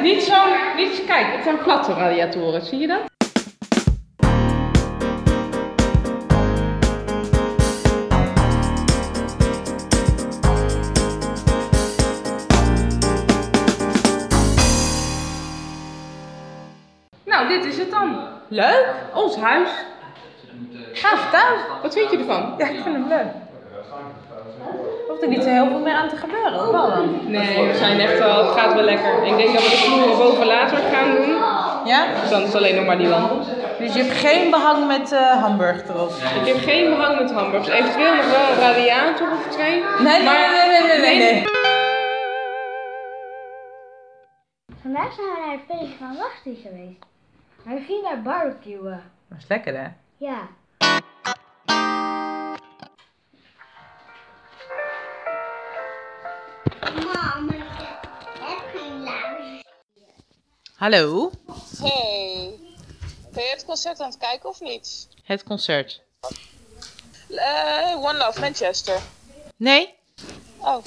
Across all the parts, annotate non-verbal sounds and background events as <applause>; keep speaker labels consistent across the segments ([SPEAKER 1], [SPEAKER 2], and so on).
[SPEAKER 1] Niet zo'n. Niet, kijk, het zijn platte radiatoren, zie je dat? Nou, dit is het dan. Leuk, ons huis. Ga vertel. Wat vind je ervan?
[SPEAKER 2] Ja, ik vind hem leuk. Hoeft er niet zo heel veel meer aan te gebeuren. of wel dan?
[SPEAKER 1] Nee, we zijn echt wel, het gaat wel lekker. Ik denk dat we de vloeren boven later gaan doen.
[SPEAKER 2] Ja?
[SPEAKER 1] Dus dan is het alleen nog maar die wand.
[SPEAKER 2] Dus je hebt geen behang met eh hamburg erop.
[SPEAKER 1] Ik heb geen behang met hamburgers. Eventueel nog wel een radiator of twee.
[SPEAKER 2] Nee, nee, nee, nee, nee, nee, nee.
[SPEAKER 3] Vandaag zijn we naar een feestje van Wachtie geweest. Maar we gingen daar barbecuen.
[SPEAKER 2] Dat is lekker hè?
[SPEAKER 3] Ja. Mam, ik heb geen luier.
[SPEAKER 2] Hallo,
[SPEAKER 4] Hey, ben je het concert aan het kijken of niet?
[SPEAKER 2] het concert.
[SPEAKER 4] Eh, One Love Manchester.
[SPEAKER 2] Nee?
[SPEAKER 4] Oh,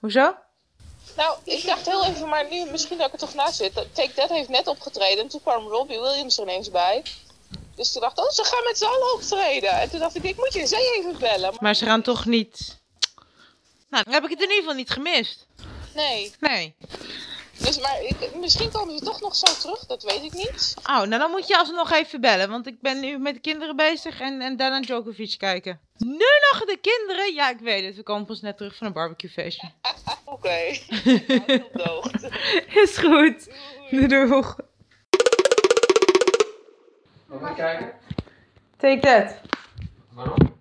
[SPEAKER 2] Hoezo?
[SPEAKER 4] nou, ik dacht heel even, maar nu misschien dat ik er toch naast zit. Dat- Take That heeft net opgetreden en toen kwam Robbie Williams er ineens bij. Dus toen dacht ik, oh, ze gaan met z'n allen optreden. En toen dacht ik, ik moet je zij even bellen. Maar
[SPEAKER 2] Maar ze gaan toch niet... Nou, dan heb ik het in ieder geval niet gemist.
[SPEAKER 4] nee,
[SPEAKER 2] Nee.
[SPEAKER 4] dus, maar ik- misschien komen ze toch nog zo terug, dat weet ik niet.
[SPEAKER 2] Oh, nou dan moet je alsnog even bellen, want ik ben nu met de kinderen bezig en, en daarna Djokovic kijken. Nu nog de kinderen? Ja, ik weet het. We komen pas net terug van een barbecuefeestje.
[SPEAKER 4] Oké, <laughs> Nou, tot dood.
[SPEAKER 2] <laughs> Is goed. Doeg.
[SPEAKER 5] Moet je kijken?
[SPEAKER 2] Take that.
[SPEAKER 5] Waarom?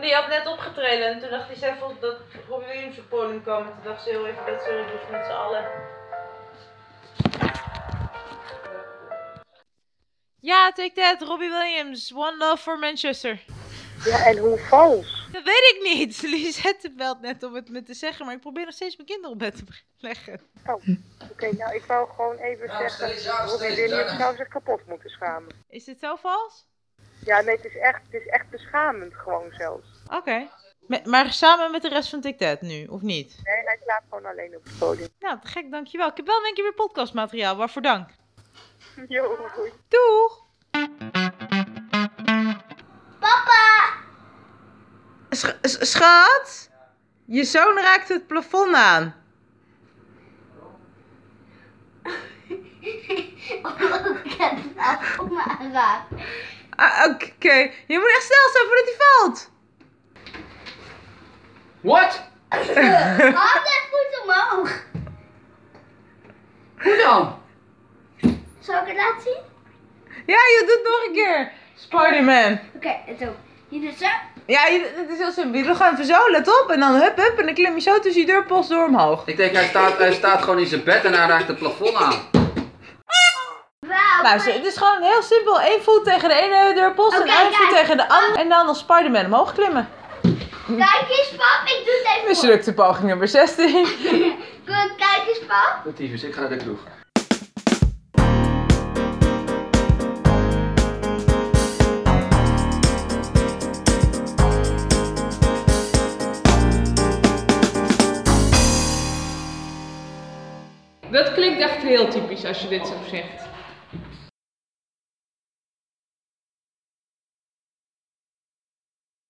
[SPEAKER 2] Die had net opgetreden en toen dacht hij zelf al dat Robbie Williams op podium kwam. En toen dacht ze heel even dat ze er dus met z'n allen... Ja, take that, Robbie Williams. One love for Manchester.
[SPEAKER 6] Ja, en hoe vals.
[SPEAKER 2] Dat weet ik niet. <laughs> Lisette belt net om het me te zeggen, maar ik probeer nog steeds mijn kinderen op bed te <laughs> leggen.
[SPEAKER 6] Oké, nou, ik wou gewoon even
[SPEAKER 5] Ja, nog
[SPEAKER 6] zeggen...
[SPEAKER 5] steeds, ja, nog
[SPEAKER 6] Robbie
[SPEAKER 5] steeds,
[SPEAKER 6] Williams
[SPEAKER 5] daarna.
[SPEAKER 6] zou zich nou kapot moeten schamen.
[SPEAKER 2] Is dit zo vals?
[SPEAKER 6] Ja, nee, het is echt, het is echt beschamend gewoon zelfs.
[SPEAKER 2] Oké. Maar samen met de rest van TikTok nu, of niet?
[SPEAKER 6] Nee, hij slaapt gewoon alleen op het podium. <laughs>
[SPEAKER 2] Nou, te gek, dankjewel. Ik heb wel denk ik weer podcastmateriaal, waarvoor dank.
[SPEAKER 6] Jo, hoi.
[SPEAKER 2] Doeg!
[SPEAKER 3] Papa!
[SPEAKER 2] schat? Je zoon raakt het plafond aan.
[SPEAKER 3] <laughs> Oh, ik heb het op me aanraakt.
[SPEAKER 2] Ah, Oké, je moet echt snel zijn voordat hij valt.
[SPEAKER 5] What?
[SPEAKER 3] Handen goed omhoog.
[SPEAKER 5] Hoe dan?
[SPEAKER 3] Zal ik het laten zien?
[SPEAKER 2] Ja, je doet nog een keer. Spider-Man.
[SPEAKER 3] Oké, en zo. Hier dus zo.
[SPEAKER 2] Ja, je- het is heel simpel. Je gaan even zo, let op. En dan hup, hup. En dan klim je zo tussen je deurpost door omhoog.
[SPEAKER 5] Ik denk, hij staat, hij staat gewoon in zijn bed en hij raakt het plafond aan.
[SPEAKER 3] Wauw.
[SPEAKER 2] Luister, het is gewoon heel simpel. Eén voet tegen de ene deurpost
[SPEAKER 3] Oké,
[SPEAKER 2] en één voet
[SPEAKER 3] kijk.
[SPEAKER 2] tegen de andere. En dan als Spider-Man omhoog klimmen.
[SPEAKER 3] Kijk eens, pap. Ik doe het even. voor.
[SPEAKER 2] Mislukte poging nummer 16.
[SPEAKER 3] Goed, kijk eens, pap.
[SPEAKER 5] Dat tyfus, ik ga naar de kroeg.
[SPEAKER 1] Dat klinkt echt heel typisch als je dit zo zegt.